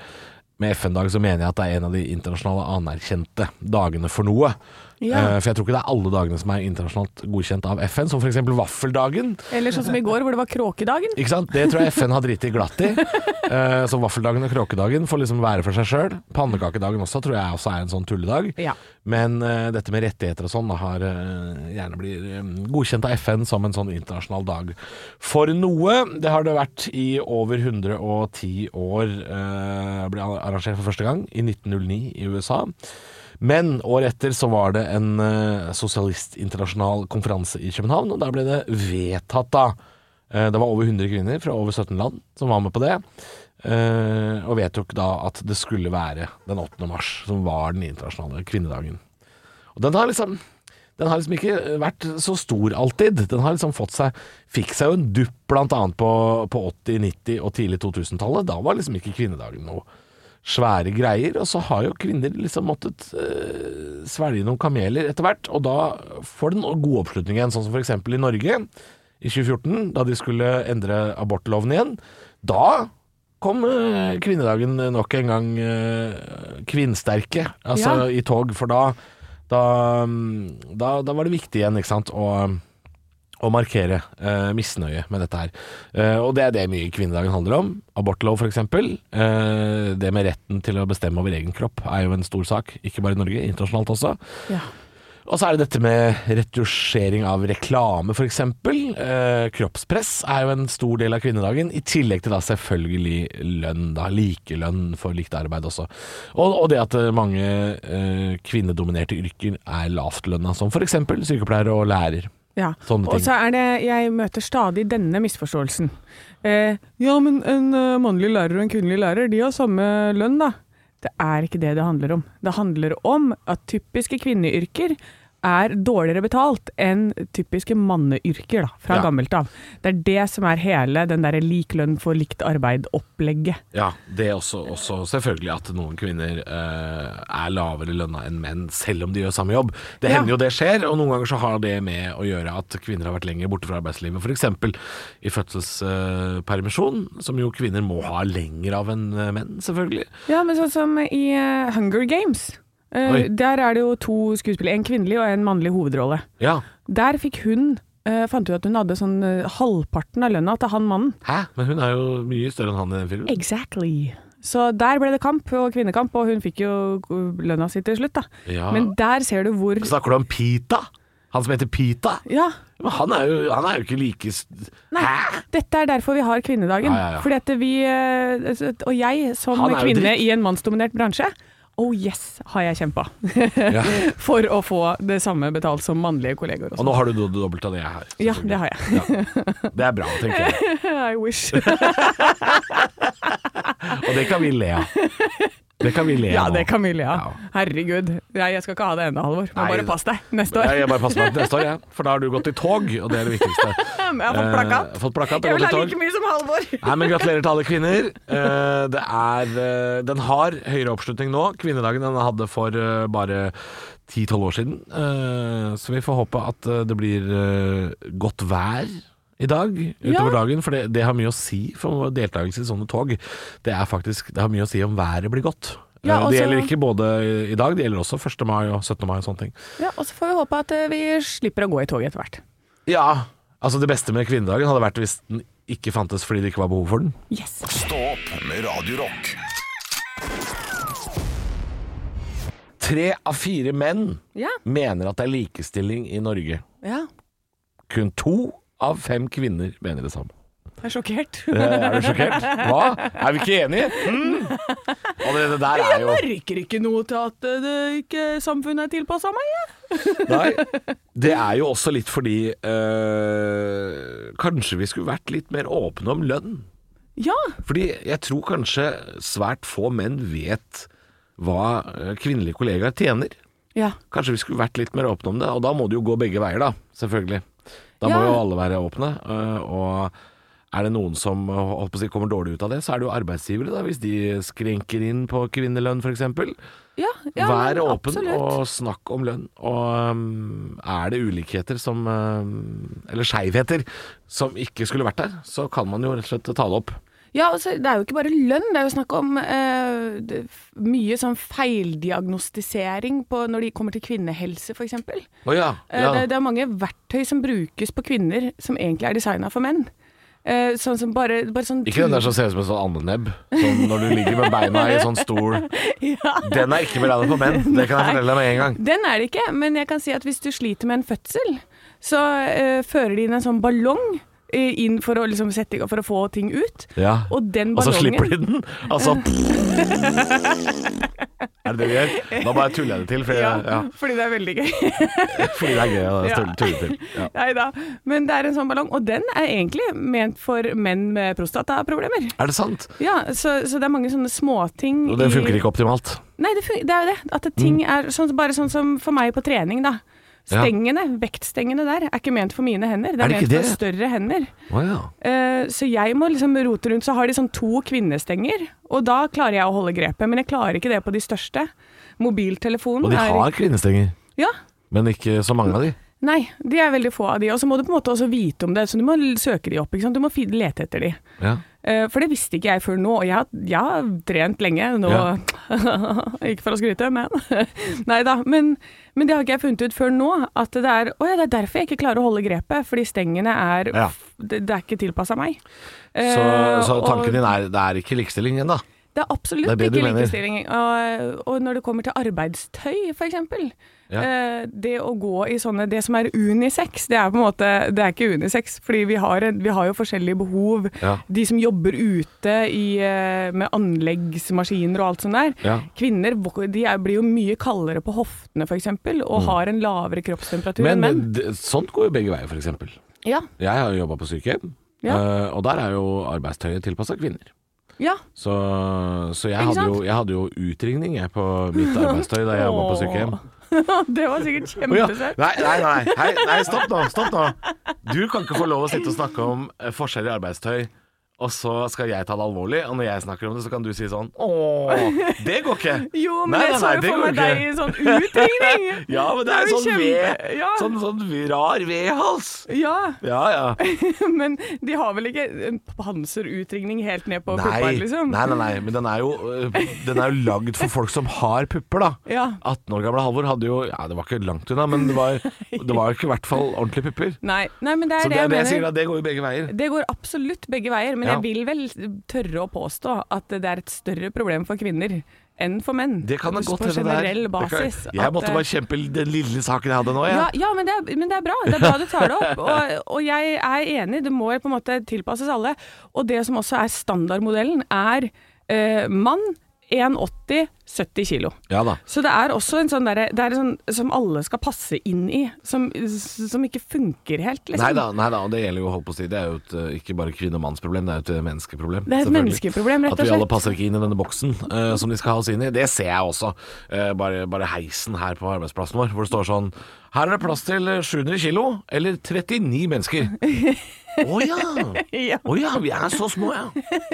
Speaker 2: med FN-dag så mener jeg at det er en av de internasjonale anerkjente dagene for noe.
Speaker 3: Ja.
Speaker 2: Eh, For jeg tror ikke det er alle dagene som er internasjonalt godkjent av FN, som f.eks. vaffeldagen.
Speaker 3: Eller sånn som i går, hvor det var kråkedagen.
Speaker 2: Ikke sant? Det tror jeg FN har driti glatt i. Eh, Så vaffeldagen og kråkedagen får liksom være for seg sjøl. Pannekakedagen også tror jeg også er en sånn tulledag.
Speaker 3: Ja.
Speaker 2: Men eh, dette med rettigheter og sånn da har eh, gjerne blir eh, godkjent av FN som en sånn internasjonal dag for noe. Det har det vært i over 110 år. Eh, ble arrangert for første gang i 1909 i USA. Men året etter så var det en eh, sosialistinternasjonal konferanse i København, og der ble det vedtatt da. Eh, Det var over 100 kvinner fra over 17 land som var med på det. eh, Og vedtok da at det skulle være den 8. mars, som var den internasjonale kvinnedagen. Og den har liksom den har liksom ikke vært så stor alltid. Den har liksom fått seg Fikk seg jo en dupp blant annet på, på 80-, 90- og tidlig 2000-tallet. Da var liksom ikke kvinnedagen noe svære greier. Og så har jo kvinner liksom måttet eh, svelge noen kameler etter hvert. Og da får den god oppslutning igjen, sånn som f.eks. i Norge i 2014, da de skulle endre abortloven igjen. Da kom eh, kvinnedagen nok en gang eh, kvinnsterke, altså
Speaker 3: Ja.
Speaker 2: i tog. For da, da, mm, da, da var det viktig igjen, ikke sant. Og, å markere eh, misnøye med dette her. Eh, og det er det mye kvinnedagen handler om. Abortlov, f.eks. Uh, det med retten til å bestemme over egen kropp er jo en stor sak, ikke bare i Norge, internasjonalt også.
Speaker 3: Ja.
Speaker 2: Og så er det dette med retusjering av reklame, f.eks. Eh, kroppspress er jo en stor del av kvinnedagen, i tillegg til da selvfølgelig lønn. da, Likelønn for likt arbeid også. Og, og det at eh, mange eh, kvinnedominerte yrker er lavtlønna, som f.eks. sykepleier og lærer.
Speaker 3: Ja.
Speaker 2: Sånne ting.
Speaker 3: Og så er det Jeg møter stadig denne misforståelsen. Eh, ja, men en eh, mannlig lærer og en kvinnelig lærer, de har samme lønn, da. Det er ikke det det handler om. Det handler om at typiske kvinneyrker er dårligere betalt enn typiske manneyrker, da, fra
Speaker 2: Ja.
Speaker 3: gammelt av. Det er det som er hele den derre lik lønn for likt arbeid-opplegget.
Speaker 2: Ja, det er også, også selvfølgelig at noen kvinner eh, er lavere lønna enn menn, selv om de gjør samme jobb. Det
Speaker 3: Ja.
Speaker 2: hender jo det skjer, og noen ganger så har det med å gjøre at kvinner har vært lenger borte fra arbeidslivet. F.eks. i fødselspermisjon, som jo kvinner må ha lenger av enn eh, menn, selvfølgelig.
Speaker 3: Ja, men sånn som i eh, Hunger Games. Eh,
Speaker 2: Oi.
Speaker 3: der er det jo to skuespillere, en kvinnelig og en mannlig hovedrolle.
Speaker 2: Ja.
Speaker 3: Der fikk hun eh, Fant ut at hun hadde sånn eh, halvparten av lønna til han mannen.
Speaker 2: Hæ? Men hun er jo mye større enn han i den filmen.
Speaker 3: Exactly. Så der ble det kamp og kvinnekamp, og hun fikk jo eh, lønna si til slutt, da.
Speaker 2: Ja. Altså,
Speaker 3: Men der ser du hvor
Speaker 2: Snakker du om Pita? Han som heter Pita?
Speaker 3: Ja.
Speaker 2: Men han er jo, han er jo ikke like s-
Speaker 3: Nei, dette er derfor vi har kvinnedagen.
Speaker 2: Ja, ja, ja.
Speaker 3: Fordi at vi eh, Og jeg som
Speaker 2: Han er jo
Speaker 3: kvinne
Speaker 2: dritt.
Speaker 3: i en mannsdominert bransje Oh yes, har jeg kjempa
Speaker 2: ja.
Speaker 3: for å få det samme betalt som mannlige kolleger.
Speaker 2: Og
Speaker 3: Også.
Speaker 2: nå har du do- dobbelt av det jeg har.
Speaker 3: Ja,
Speaker 2: selvfølgelig.
Speaker 3: det har jeg.
Speaker 2: Ja. Det er bra, tenker jeg.
Speaker 3: I wish.
Speaker 2: Og det kan vi le av. Det kan vi le
Speaker 3: Ja,
Speaker 2: av. nå.
Speaker 3: det kan vi le av.
Speaker 2: Ja.
Speaker 3: Herregud. Nei, jeg skal ikke ha det ennå, Halvor. Men
Speaker 2: Nei,
Speaker 3: bare
Speaker 2: det-
Speaker 3: pass deg neste
Speaker 2: Jeg,
Speaker 3: år.
Speaker 2: jeg bare passer meg til neste år, jeg. For da har du gått i tog, og det er det viktigste.
Speaker 3: Jeg har fått plakat.
Speaker 2: Eh, fått plakat
Speaker 3: Jeg
Speaker 2: og
Speaker 3: vil
Speaker 2: gått
Speaker 3: ha
Speaker 2: i
Speaker 3: like
Speaker 2: tog.
Speaker 3: mye som Halvor.
Speaker 2: Nei, men Gratulerer til alle kvinner. Eh, det er, eh, den har høyere oppslutning nå, kvinnedagen, enn den hadde for eh, bare 10-12 år siden. Eh, så vi får håpe at eh, det blir eh, godt vær i dag utover dagen, for det, det har mye å si for vår deltakelse i sånne tog. Det er faktisk, det har mye å si om været blir godt.
Speaker 4: Ja,
Speaker 2: Eh,
Speaker 4: altså-
Speaker 2: det gjelder ikke både i dag, det gjelder også 1. mai og 17. mai og sånne ting.
Speaker 4: Ja, og så får vi håpe at eh, vi slipper å gå i toget etter hvert.
Speaker 2: Ja, Altså Det beste med kvinnedagen hadde vært hvis den ikke fantes fordi det ikke var behov for den.
Speaker 8: Yes.
Speaker 1: Stå opp med Radio Rock.
Speaker 2: Tre av fire menn
Speaker 3: Ja.
Speaker 2: mener at det er likestilling i Norge.
Speaker 3: ja.
Speaker 2: Kun to av fem kvinner mener det samme.
Speaker 8: Jeg er sjokkert.
Speaker 2: Eh, Er du sjokkert? Hva? Er vi ikke enige? Mm. Allerede der er
Speaker 8: Jeg
Speaker 2: jo
Speaker 8: merker ikke noe til at eh, det ikke samfunnet er tilpassa meg. Jeg.
Speaker 2: Nei. Det er jo også litt fordi eh, Kanskje vi skulle vært litt mer åpne om lønn.
Speaker 8: Ja,
Speaker 2: Fordi jeg tror kanskje svært få menn vet hva eh, kvinnelige kollegaer tjener.
Speaker 3: ja.
Speaker 2: Kanskje vi skulle vært litt mer åpne om det, og da må det jo gå begge veier, da. Selvfølgelig. Da må
Speaker 3: Ja.
Speaker 2: jo alle være åpne. øh, Og er det noen som øh, holdt på å si, kommer dårlig ut av det, så er det jo arbeidsgivere, da, hvis de skrenker inn på kvinnelønn f.eks.
Speaker 3: ja, ja
Speaker 2: Vær
Speaker 3: men
Speaker 2: åpen
Speaker 3: absolutt.
Speaker 2: og snakk om lønn. Og øhm, er det ulikheter som øhm, Eller skeivheter som ikke skulle vært der, så kan man jo rett og slett ta det opp.
Speaker 3: Ja, altså, Det er jo ikke bare lønn, det er jo snakk om eh, det- f- mye sånn feildiagnostisering på, når de kommer til kvinnehelse, f.eks.
Speaker 2: Å ja.
Speaker 3: Eh, det, det er mange verktøy som brukes på kvinner som egentlig er designa for menn. Eh, sånn som bare, bare sånn
Speaker 2: Ikke den der som ser ut som en sånn andenebb, sånn når du ligger med beina i en sånn stol.
Speaker 3: Ja.
Speaker 2: Den er ikke beregnet på menn, det kan jeg fortelle deg med en gang.
Speaker 3: Den er det ikke, men jeg kan si at hvis du sliter med en fødsel, så eh, fører de inn en sånn ballong eh, inn for å, liksom, sette, i gang- for å få ting ut.
Speaker 2: Ja.
Speaker 3: Og den
Speaker 2: Og så slipper de
Speaker 3: ballongen
Speaker 2: den. Altså Er det det vi gjør? Da bare tuller jeg det til, fordi,
Speaker 3: ja,
Speaker 2: jeg- ja,
Speaker 3: fordi det er veldig gøy.
Speaker 2: fordi det er gøy å tulle- tulle til. Ja.
Speaker 3: Nei da. Men det er en sånn ballong, og den er egentlig ment for menn med prostataproblemer.
Speaker 2: Er det sant?
Speaker 3: Ja, så, så det er mange sånne småting
Speaker 2: Og den
Speaker 3: i-
Speaker 2: funker ikke optimalt.
Speaker 3: Nei, det, fun det er jo det. At det ting er sånn, bare sånn som for meg på trening, da.
Speaker 2: Ja.
Speaker 3: Stengene, vektstengene der, er ikke ment for mine hender. Det
Speaker 2: Er
Speaker 3: er,
Speaker 2: det
Speaker 3: ment
Speaker 2: ikke
Speaker 3: for større hender.
Speaker 2: Å ja.
Speaker 3: Eh, så jeg må liksom rote rundt. Så har de sånn to kvinnestenger, og da klarer jeg å holde grepet. Men jeg klarer ikke det på de største. Mobiltelefonen
Speaker 2: Og de
Speaker 3: er
Speaker 2: har kvinnestenger,
Speaker 3: Ja.
Speaker 2: men ikke så mange av de.
Speaker 3: Nei, de er veldig få av de. Og så må du på en måte også vite om det. Så du må l- søke de opp. Ikke sant? Du må fi- lete etter de.
Speaker 2: Ja.
Speaker 3: Eh, For det visste ikke jeg før nå, og jeg har, jeg har trent lenge nå.
Speaker 2: Ja.
Speaker 3: ikke for å skryte, men Nei da. Men, men det har ikke jeg funnet ut før nå, at det er Å ja, det er derfor jeg ikke klarer å holde grepet. Fordi stengene er
Speaker 2: Ja.
Speaker 3: f- det, det er ikke tilpassa meg.
Speaker 2: Så,
Speaker 3: Eh,
Speaker 2: så tanken
Speaker 3: og
Speaker 2: din er det er ikke likestilling ennå.
Speaker 3: Det er absolutt
Speaker 2: Det er det du
Speaker 3: ikke
Speaker 2: mener.
Speaker 3: likestilling. Og, og når det kommer til arbeidstøy, f.eks.
Speaker 2: Ja.
Speaker 3: Eh, det å gå i sånne Det som er unisex, det er på en måte Det er ikke unisex, fordi vi har, en- vi har jo forskjellige behov.
Speaker 2: Ja.
Speaker 3: De som jobber ute i, eh, med anleggsmaskiner og alt sånt der.
Speaker 2: Ja.
Speaker 3: Kvinner vok- de er, blir jo mye kaldere på hoftene, f.eks., og har en lavere kroppstemperatur
Speaker 2: Mm.
Speaker 3: enn
Speaker 2: Men
Speaker 3: menn.
Speaker 2: d- sånt går jo begge veier, f.eks.
Speaker 3: Ja.
Speaker 2: Jeg har jobba på sykehjem,
Speaker 3: Ja.
Speaker 2: eh, og der er jo arbeidstøyet tilpassa kvinner.
Speaker 3: ja.
Speaker 2: Så, så jeg,
Speaker 3: Ikke
Speaker 2: hadde
Speaker 3: sant?
Speaker 2: jo, jeg hadde jo utringning jeg, på mitt arbeidstøy da jeg jobba på sykehjem.
Speaker 3: det var sikkert
Speaker 2: Å ja.
Speaker 3: kjempesøtt.
Speaker 2: Nei, nei, nei, Hei, nei, stopp nå. Stopp nå. Du kan ikke få lov å sitte og snakke om eh, forskjell i arbeidstøy, og så skal jeg ta det alvorlig, og når jeg snakker om det, så kan du si sånn Åh, det går ikke.
Speaker 3: Jo, men
Speaker 2: Nei,
Speaker 3: jeg
Speaker 2: nei,
Speaker 3: så
Speaker 2: nei,
Speaker 3: jo
Speaker 2: det
Speaker 3: for
Speaker 2: går
Speaker 3: meg deg i en sånn utringning.
Speaker 2: Ja, men det er
Speaker 3: jo
Speaker 2: sånn ved
Speaker 3: kjempe- ja.
Speaker 2: Sånn, sånn rar vedhals.
Speaker 3: Ja,
Speaker 2: Ja, ja.
Speaker 3: men de har vel ikke en panserutringning helt ned på
Speaker 2: Nei,
Speaker 3: puppa, liksom?
Speaker 2: nei, nei, nei, men den er, jo, øh, den er jo lagd for folk som har pupper, da.
Speaker 3: Ja.
Speaker 2: 18 år gamle Halvor hadde jo Ja, det var ikke langt unna, men det var, det var jo ikke i hvert fall ordentlige pupper.
Speaker 3: Nei, nei, men det er
Speaker 2: Så
Speaker 3: det,
Speaker 2: det er
Speaker 3: jeg
Speaker 2: det jeg
Speaker 3: mener.
Speaker 2: sier, da. Det går jo begge veier.
Speaker 3: Det går absolutt begge veier, men
Speaker 2: Ja.
Speaker 3: jeg vil vel tørre å påstå at det er et større problem for kvinner enn for menn.
Speaker 2: Det kan da godt
Speaker 3: På
Speaker 2: hende det er.
Speaker 3: generell
Speaker 2: Det kan-
Speaker 3: basis.
Speaker 2: Jeg
Speaker 3: at,
Speaker 2: måtte
Speaker 3: eh,
Speaker 2: bare kjempe den lille saken jeg hadde nå, jeg.
Speaker 3: ja, ja men, det er, men det er bra. Det er bra du tar det opp. Og, og jeg er enig, det må på en måte tilpasses alle. Og det som også er standardmodellen, er eh, mann 1,80, 70 kilo.
Speaker 2: Ja da.
Speaker 3: Så det er også en sånn derre Det er en sånn som alle skal passe inn i, som, som ikke funker helt, liksom.
Speaker 2: Nei da, nei da, og det gjelder jo holdt på å si. Det er jo et, eh, ikke bare kvinne- og mannsproblem, det er jo et eh, menneskeproblem.
Speaker 3: Det er et
Speaker 2: selvfølgelig.
Speaker 3: menneskeproblem, rett og
Speaker 2: At vi alle
Speaker 3: slett.
Speaker 2: passer ikke inn i denne boksen eh, som de skal ha oss inn i. Det ser jeg også. Eh, bare, bare heisen her på arbeidsplassen vår, hvor det står sånn Her er det plass til eh, 700 kilo, eller 39 mennesker. Å ja!
Speaker 3: Ja,
Speaker 2: Å ja, vi er så små, ja.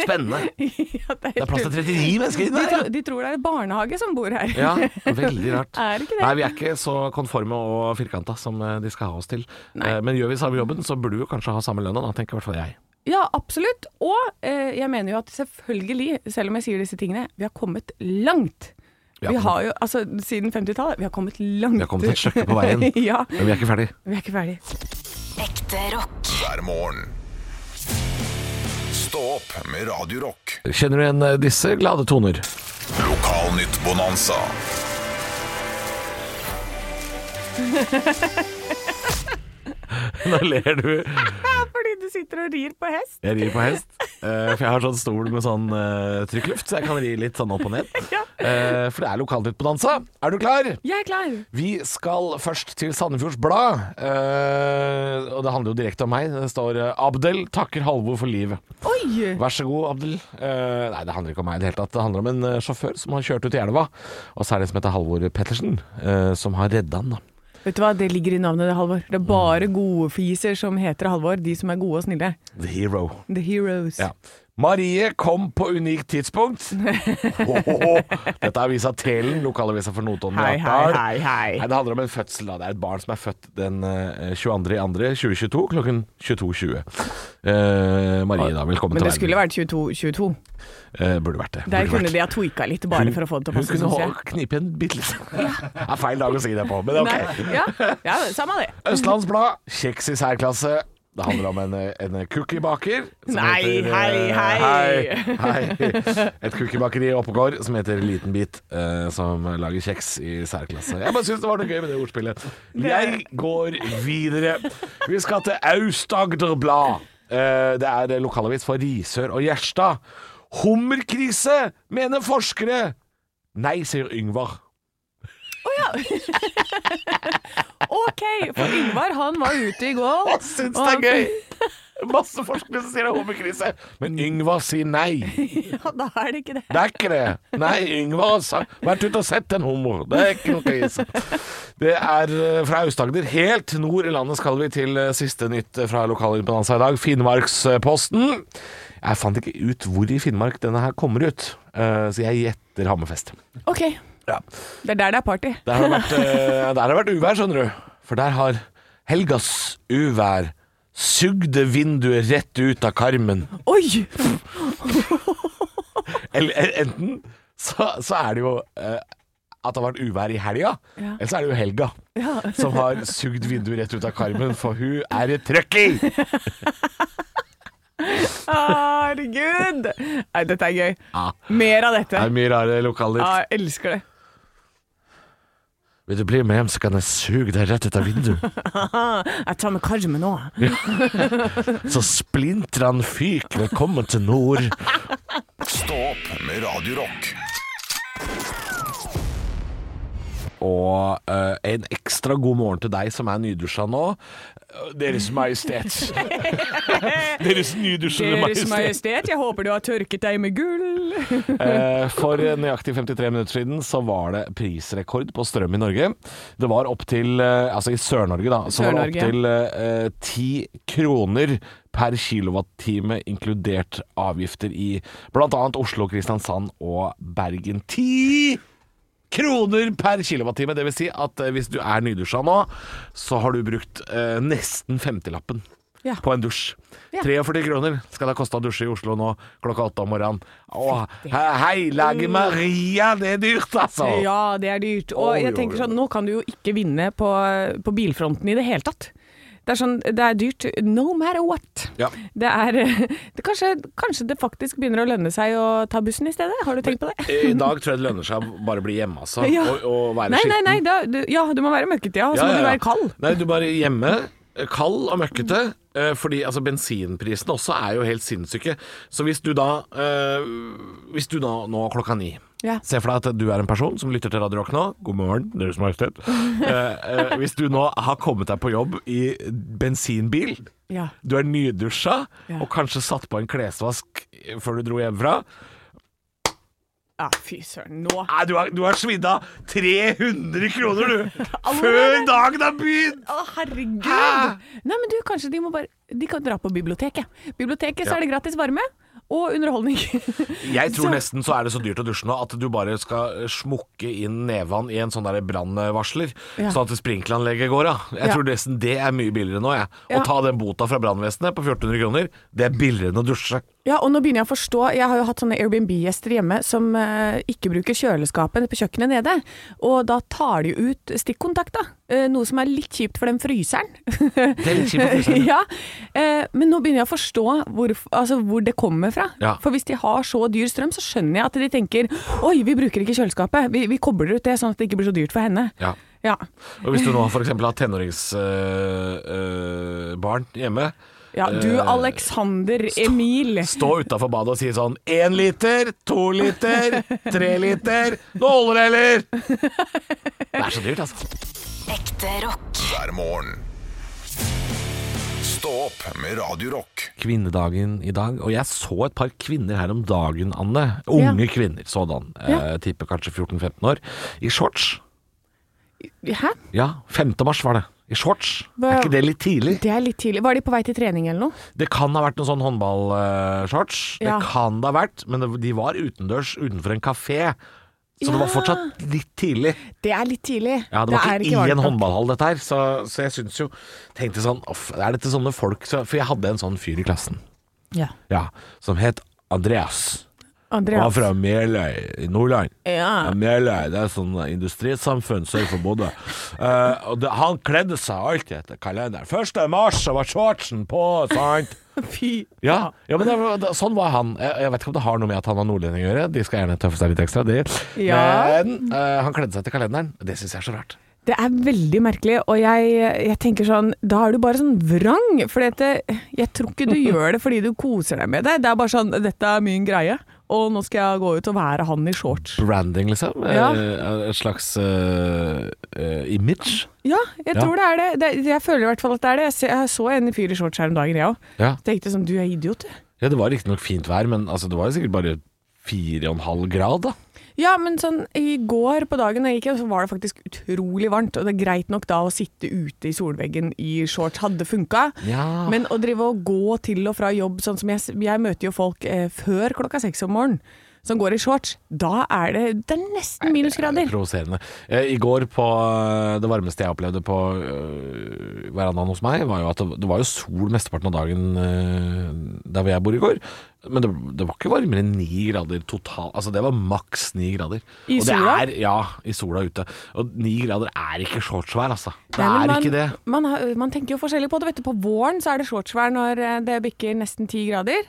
Speaker 2: Spennende. Det
Speaker 3: ja, det
Speaker 2: er
Speaker 3: er
Speaker 2: plass til
Speaker 3: helt
Speaker 2: 39 mennesker inne
Speaker 3: de,
Speaker 2: her.
Speaker 3: tror, de tror det er barnehage som bor her.
Speaker 2: Ja, veldig rart.
Speaker 3: Er det ikke det?
Speaker 2: Nei, vi er ikke så konforme og firkanta som eh, de skal ha oss til. Eh, Men gjør vi samme jobben, så burde vi jo kanskje ha samme lønna, da, tenker i hvert fall jeg.
Speaker 3: Ja, absolutt. Og eh, jeg mener jo at selvfølgelig, selv om jeg sier disse tingene, vi har kommet langt.
Speaker 2: Vi har
Speaker 3: Vi har jo, altså Siden 50-tallet, vi har kommet langt.
Speaker 2: Vi har kommet et stykke på veien.
Speaker 3: ja,
Speaker 2: Men vi er ikke ferdig.
Speaker 3: vi er ikke ferdig.
Speaker 5: Ekte Ekte rock.
Speaker 1: hver morgen. Stå opp med Radio Rock.
Speaker 2: Kjenner du igjen eh, disse glade toner?
Speaker 1: Lokalnytt Bonanza.
Speaker 2: Nå ler du.
Speaker 3: Fordi du sitter og rir på hest.
Speaker 2: Jeg rir på hest, eh, for jeg har sånn stol med sånn eh, trykkluft, så jeg kan ri litt sånn opp og ned. Eh, for det er lokalnytt på dansa. Er du klar?
Speaker 4: Jeg er klar.
Speaker 2: Vi skal først til Sandefjords Blad, eh, og det handler jo direkte om meg. Det står eh, 'Abdel takker Halvor for livet'.
Speaker 3: Oi!
Speaker 2: Vær så god, Abdel. Eh, nei, det handler ikke om meg i det hele tatt. Det handler om en eh, sjåfør som har kjørt ut i elva, og så er det en som heter Halvor Pettersen, eh, som har redda han, da.
Speaker 3: Vet du hva, det ligger i navnet, det, Halvor. Det er bare gode fiser som heter Halvor. De som er gode og snille.
Speaker 2: The hero.
Speaker 3: The heroes.
Speaker 2: Ja. Marie kom på unikt tidspunkt. Åhåhå. Dette er avisa Telen, lokalavisa for Notodden. og
Speaker 3: Hei,
Speaker 2: Oppdal.
Speaker 3: hei, hei, hei.
Speaker 2: Nei, det handler om en fødsel. Da. Det er et barn som er født den eh, 22.2.2022 klokken 22.20. Eh, Marie, da. Velkommen
Speaker 3: Men det
Speaker 2: til
Speaker 3: skulle vært 22. 22.
Speaker 2: Eh, burde vært det.
Speaker 3: Der
Speaker 2: Burde
Speaker 3: kunne
Speaker 2: vært.
Speaker 3: de ha tweaka litt, bare for å få det til å
Speaker 2: Hun
Speaker 3: passe.
Speaker 2: kunne
Speaker 3: synes jeg.
Speaker 2: holde- knipe en bitte litt. Det er feil dag å si det på, men ok.
Speaker 3: Nei, ja, ja, samme det.
Speaker 2: Østlandsblad, kjeks i særklasse. Det handler om en, en cookiebaker som
Speaker 3: Nei,
Speaker 2: heter, eh,
Speaker 3: hei, hei.
Speaker 2: hei, hei. Et cookiebakeri i Oppegård som heter Liten bit, eh, som lager kjeks i særklasse. Jeg bare syns det var noe gøy med det ordspillet. Jeg går videre. Vi skal til Aust-Agder Blad. Eh, Det er lokalavis for Risør og Gjerstad. Hummerkrise, mener forskere. Nei, sier Yngvar.
Speaker 3: OK, for Yngvar han var ute i går.
Speaker 2: Jeg syns det er gøy! Masse forskere som sier det er homokrise. Men Yngvar sier nei.
Speaker 3: Ja, da er det ikke det.
Speaker 2: Det er ikke det. Nei, Yngvar har sa- vært ute og sett en hummer. Det er ikke noe krise. Det er eh, fra Aust-Agder helt nord i landet skal vi til eh, siste nytt eh, fra lokalimponanza i dag. Finnmarksposten. Jeg fant ikke ut hvor i Finnmark denne her kommer ut, eh, så jeg gjetter Hammerfest.
Speaker 3: OK.
Speaker 2: Ja.
Speaker 3: Det er der det er party.
Speaker 2: Der har det vært, eh, der har det vært uvær, skjønner du. For der har helgas uvær sugde vinduet rett ut av karmen.
Speaker 3: Oi!
Speaker 2: Eller eh, enten så, så er det jo eh, at det har vært uvær i helga, eller så er det jo helga som har sugd vinduet rett ut av karmen, for hun er et trøkk i!
Speaker 3: Herregud! Nei, dette er gøy.
Speaker 2: Ja.
Speaker 3: Mer av dette.
Speaker 2: Det er mye rare
Speaker 3: Ja,
Speaker 2: lokaler.
Speaker 3: jeg elsker det.
Speaker 2: Vil du bli med hjem, så kan jeg suge deg rett ut av vinduet.
Speaker 3: Jeg tar med karmen nå.
Speaker 2: Så splintrer han fyk, velkommen til nord.
Speaker 1: Stå opp med Radio Rock.
Speaker 2: Og eh, en ekstra god morgen til deg som er nydusja nå. Deres Majestet. Deres nydusjede
Speaker 3: Deres
Speaker 2: Majestet.
Speaker 3: Majestet, jeg håper du har tørket deg med gull.
Speaker 2: Eh, For nøyaktig 53 minutter siden så var det prisrekord på strøm i Norge. Det var opp til eh, Altså i Sør-Norge, da. Så var det
Speaker 3: Sør-Norge.
Speaker 2: opp til eh, 10 kroner per kilowattime, inkludert avgifter i bl.a. Oslo, Kristiansand og Bergen. 10 kroner per kilowattime. Det vil si at eh, hvis du er nydusja nå, så har du brukt eh, nesten 50-lappen
Speaker 3: Ja.
Speaker 2: på en dusj. 43 kroner skal det koste å dusje i Oslo nå klokka åtte om morgenen. Å, he- heilige Maria, det er dyrt, altså!
Speaker 3: Mm. Ja, det er dyrt. Og
Speaker 2: Oi,
Speaker 3: jeg
Speaker 2: oi,
Speaker 3: tenker
Speaker 2: oi.
Speaker 3: sånn, nå kan du jo ikke vinne på, på bilfronten i det hele tatt. Det er sånn, det er dyrt no matter what.
Speaker 2: Ja.
Speaker 3: Det er det kanskje, kanskje det faktisk begynner å lønne seg å ta bussen i stedet? Har du tenkt på det?
Speaker 2: I dag tror jeg det lønner seg å bare bli hjemme, altså.
Speaker 3: Ja.
Speaker 2: Og, og være
Speaker 3: Nei, nei,
Speaker 2: skitten.
Speaker 3: nei. Da, du, ja, du må være møkketida, og så
Speaker 2: Ja,
Speaker 3: må
Speaker 2: ja,
Speaker 3: du
Speaker 2: ja.
Speaker 3: være kald.
Speaker 2: Nei, du bare hjemme. Kald og møkkete, eh, fordi altså, bensinprisene også er jo helt sinnssyke. Så hvis du da eh, Hvis du da nå klokka ni
Speaker 3: Ja.
Speaker 2: Se for deg at du er en person som lytter til Radio Rock nå. God morgen, Deres Majestet. Eh, eh, hvis du nå har kommet deg på jobb i bensinbil,
Speaker 3: Ja.
Speaker 2: du er nydusja
Speaker 3: Ja.
Speaker 2: og kanskje satt på en klesvask før du dro hjemmefra
Speaker 3: Ja, fy søren. Nå.
Speaker 2: Nei, du har, du har svidd av 300 kroner, du! Før dagen er begynt!
Speaker 3: Å, herregud!
Speaker 2: Hæ?
Speaker 3: Nei, men du, kanskje de må bare De kan dra på biblioteket. Biblioteket,
Speaker 2: Ja.
Speaker 3: så er det gratis varme og underholdning.
Speaker 2: Jeg tror
Speaker 3: Så-
Speaker 2: nesten så er det så dyrt å dusje nå at du bare skal eh, smukke inn nevene i en sånn der brannvarsler,
Speaker 3: Ja.
Speaker 2: sånn at sprinkleranlegget går av. Jeg
Speaker 3: Ja.
Speaker 2: tror nesten det er mye billigere nå, jeg.
Speaker 3: Ja.
Speaker 2: Å ta den bota fra brannvesenet på 1400 kroner, det er billigere enn å dusje.
Speaker 3: Ja, og nå begynner jeg å forstå Jeg har jo hatt sånne Airbnb-gjester hjemme som eh, ikke bruker kjøleskapet på kjøkkenet nede. Og da tar de jo ut stikkontakt, da. Eh, noe som er litt kjipt for den fryseren.
Speaker 2: Det er litt kjipt for fryseren,
Speaker 3: ja. Eh, men nå begynner jeg å forstå hvor, altså, hvor det kommer fra.
Speaker 2: Ja.
Speaker 3: For hvis de har så dyr strøm, så skjønner jeg at de tenker Oi, vi bruker ikke kjøleskapet. Vi, vi kobler ut det, sånn at det ikke blir så dyrt for henne.
Speaker 2: Ja.
Speaker 3: Ja.
Speaker 2: Og hvis du nå f.eks. har tenåringsbarn hjemme,
Speaker 3: ja du,
Speaker 2: Eh,
Speaker 3: Alexander Emil.
Speaker 2: stå utafor badet og si sånn Én liter, to liter, tre liter. Nå holder det, eller? Det er så dyrt, altså.
Speaker 5: Ekte rock.
Speaker 1: hver morgen. Stå opp med Radio Rock.
Speaker 2: Kvinnedagen i dag, og jeg så et par kvinner her om dagen, Anne. Unge kvinner, sådan.
Speaker 3: Ja.
Speaker 2: Eh, tipper kanskje 14-15 år. I shorts.
Speaker 3: Hæ?
Speaker 2: Ja, 5. mars var det. I shorts.
Speaker 3: Hva-
Speaker 2: Er ikke det litt tidlig?
Speaker 3: Det er litt tidlig. Var de på vei til trening eller noe?
Speaker 2: Det kan ha vært noen sånn håndballshorts.
Speaker 3: Ja.
Speaker 2: Det kan det ha vært, men det, de var utendørs utenfor en kafé. Så det var fortsatt litt tidlig.
Speaker 3: Det er litt tidlig.
Speaker 2: Ja, Det var
Speaker 3: er
Speaker 2: ikke, i
Speaker 3: varmt
Speaker 2: en
Speaker 3: nok.
Speaker 2: håndballhall, dette her. Så, så jeg syns jo Tenkte sånn «Off, Er dette sånne folk så, For jeg hadde en sånn fyr i klassen
Speaker 3: Ja.
Speaker 2: ja, som het Andreas. Han var
Speaker 3: Andreas.
Speaker 2: fra Meløy i Nordland.
Speaker 3: Ja.
Speaker 2: Meløy, det er sånn industrisamfunn sør for Bodø. Eh, og det, han kledde seg alltid etter kalenderen. 1. mars så var shortsen på, sant?
Speaker 3: Fy.
Speaker 2: Ja, ja men det, var- det, sånn var han. Jeg, jeg vet ikke om det har noe med at han var nordlending å gjøre. De skal gjerne tøffe seg litt ekstra, de.
Speaker 3: Ja.
Speaker 2: Men eh, han kledde seg til kalenderen. Det syns jeg er så rart.
Speaker 3: Det er veldig merkelig, og jeg, jeg tenker sånn Da er du bare sånn vrang. For jeg tror ikke du gjør det fordi du koser deg med det. Det er bare sånn Dette er min greie, og nå skal jeg gå ut og være han i shorts.
Speaker 2: Branding, liksom. Eh,
Speaker 3: Ja.
Speaker 2: Et slags eh, eh, image.
Speaker 3: Ja, jeg
Speaker 2: Ja.
Speaker 3: tror det er det. det. Jeg føler i hvert fall at det er det. Jeg, ser, jeg så en fyr i shorts her om dagen, jeg òg.
Speaker 2: Ja,
Speaker 3: Tenkte sånn Du er idiot, du.
Speaker 2: ja det var riktignok fint vær, men altså, det var jo sikkert bare fire og en halv grad, da.
Speaker 3: Ja, men sånn i går på dagen jeg gikk hjem, så var det faktisk utrolig varmt. Og det er greit nok da å sitte ute i solveggen i shorts hadde funka.
Speaker 2: Ja.
Speaker 3: Men å drive og gå til og fra jobb sånn som jeg, jeg møter jo folk eh, før klokka seks om morgenen som går i shorts, da er det, det er nesten minusgrader.
Speaker 2: Provoserende. Eh, I går på eh, det varmeste jeg opplevde på eh, verandaen hos meg, var jo at det, det var jo sol mesteparten av dagen eh, der hvor jeg bor i går. Men det, det var ikke varmere enn ni grader totalt. Altså det var maks ni grader.
Speaker 3: I
Speaker 2: Og det
Speaker 3: sola?
Speaker 2: Er, ja, i sola ute. Og ni grader er ikke shortsvær, altså. Det
Speaker 3: Nei, men
Speaker 2: er
Speaker 3: man,
Speaker 2: ikke det.
Speaker 3: Man, har- man tenker jo forskjellig på det. Vet du, på våren så er det shortsvær når eh, det bikker nesten ti grader.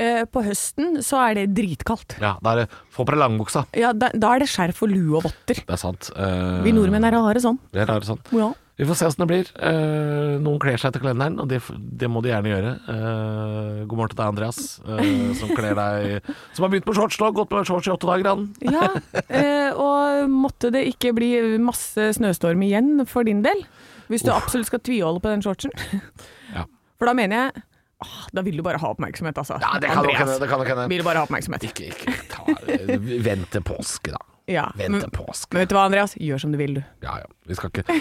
Speaker 3: Eh, på høsten så er det dritkaldt.
Speaker 2: Ja, det er, eh, få på deg langbuksa.
Speaker 3: Ja, da, da er det skjerf og lue og votter.
Speaker 2: Det er sant. Eh,
Speaker 3: Vi nordmenn er rare sånn.
Speaker 2: Vi er rare sånn.
Speaker 3: Ja.
Speaker 2: Vi får se åssen det blir. Eh, noen kler seg til kalenderen, og det, f- det må de gjerne gjøre. Eh, god morgen til deg, Andreas, eh, som kler deg Som har begynt på shorts nå, gått på shorts i åtte dager, han.
Speaker 3: Ja, eh, og måtte det ikke bli masse snøstorm igjen for din del? Hvis du absolutt skal tviholde på den shortsen.
Speaker 2: Ja.
Speaker 3: For da mener jeg ah, Da vil du bare ha oppmerksomhet, altså.
Speaker 2: Ja, det kan nok hende. Det kan nok hende.
Speaker 3: Vil du bare ha oppmerksomhet.
Speaker 2: Ikke, ikke ta Vent til påske, da.
Speaker 3: Ja.
Speaker 2: Vent til påske.
Speaker 3: Men vet du hva, Andreas? Gjør som du vil, du.
Speaker 2: Ja ja, vi skal ikke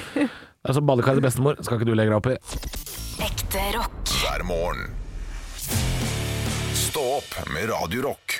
Speaker 2: Det er som badekar til bestemor, skal ikke du legge deg opp i.
Speaker 5: Ekte rock.
Speaker 1: hver morgen. Stå opp med Radio Rock.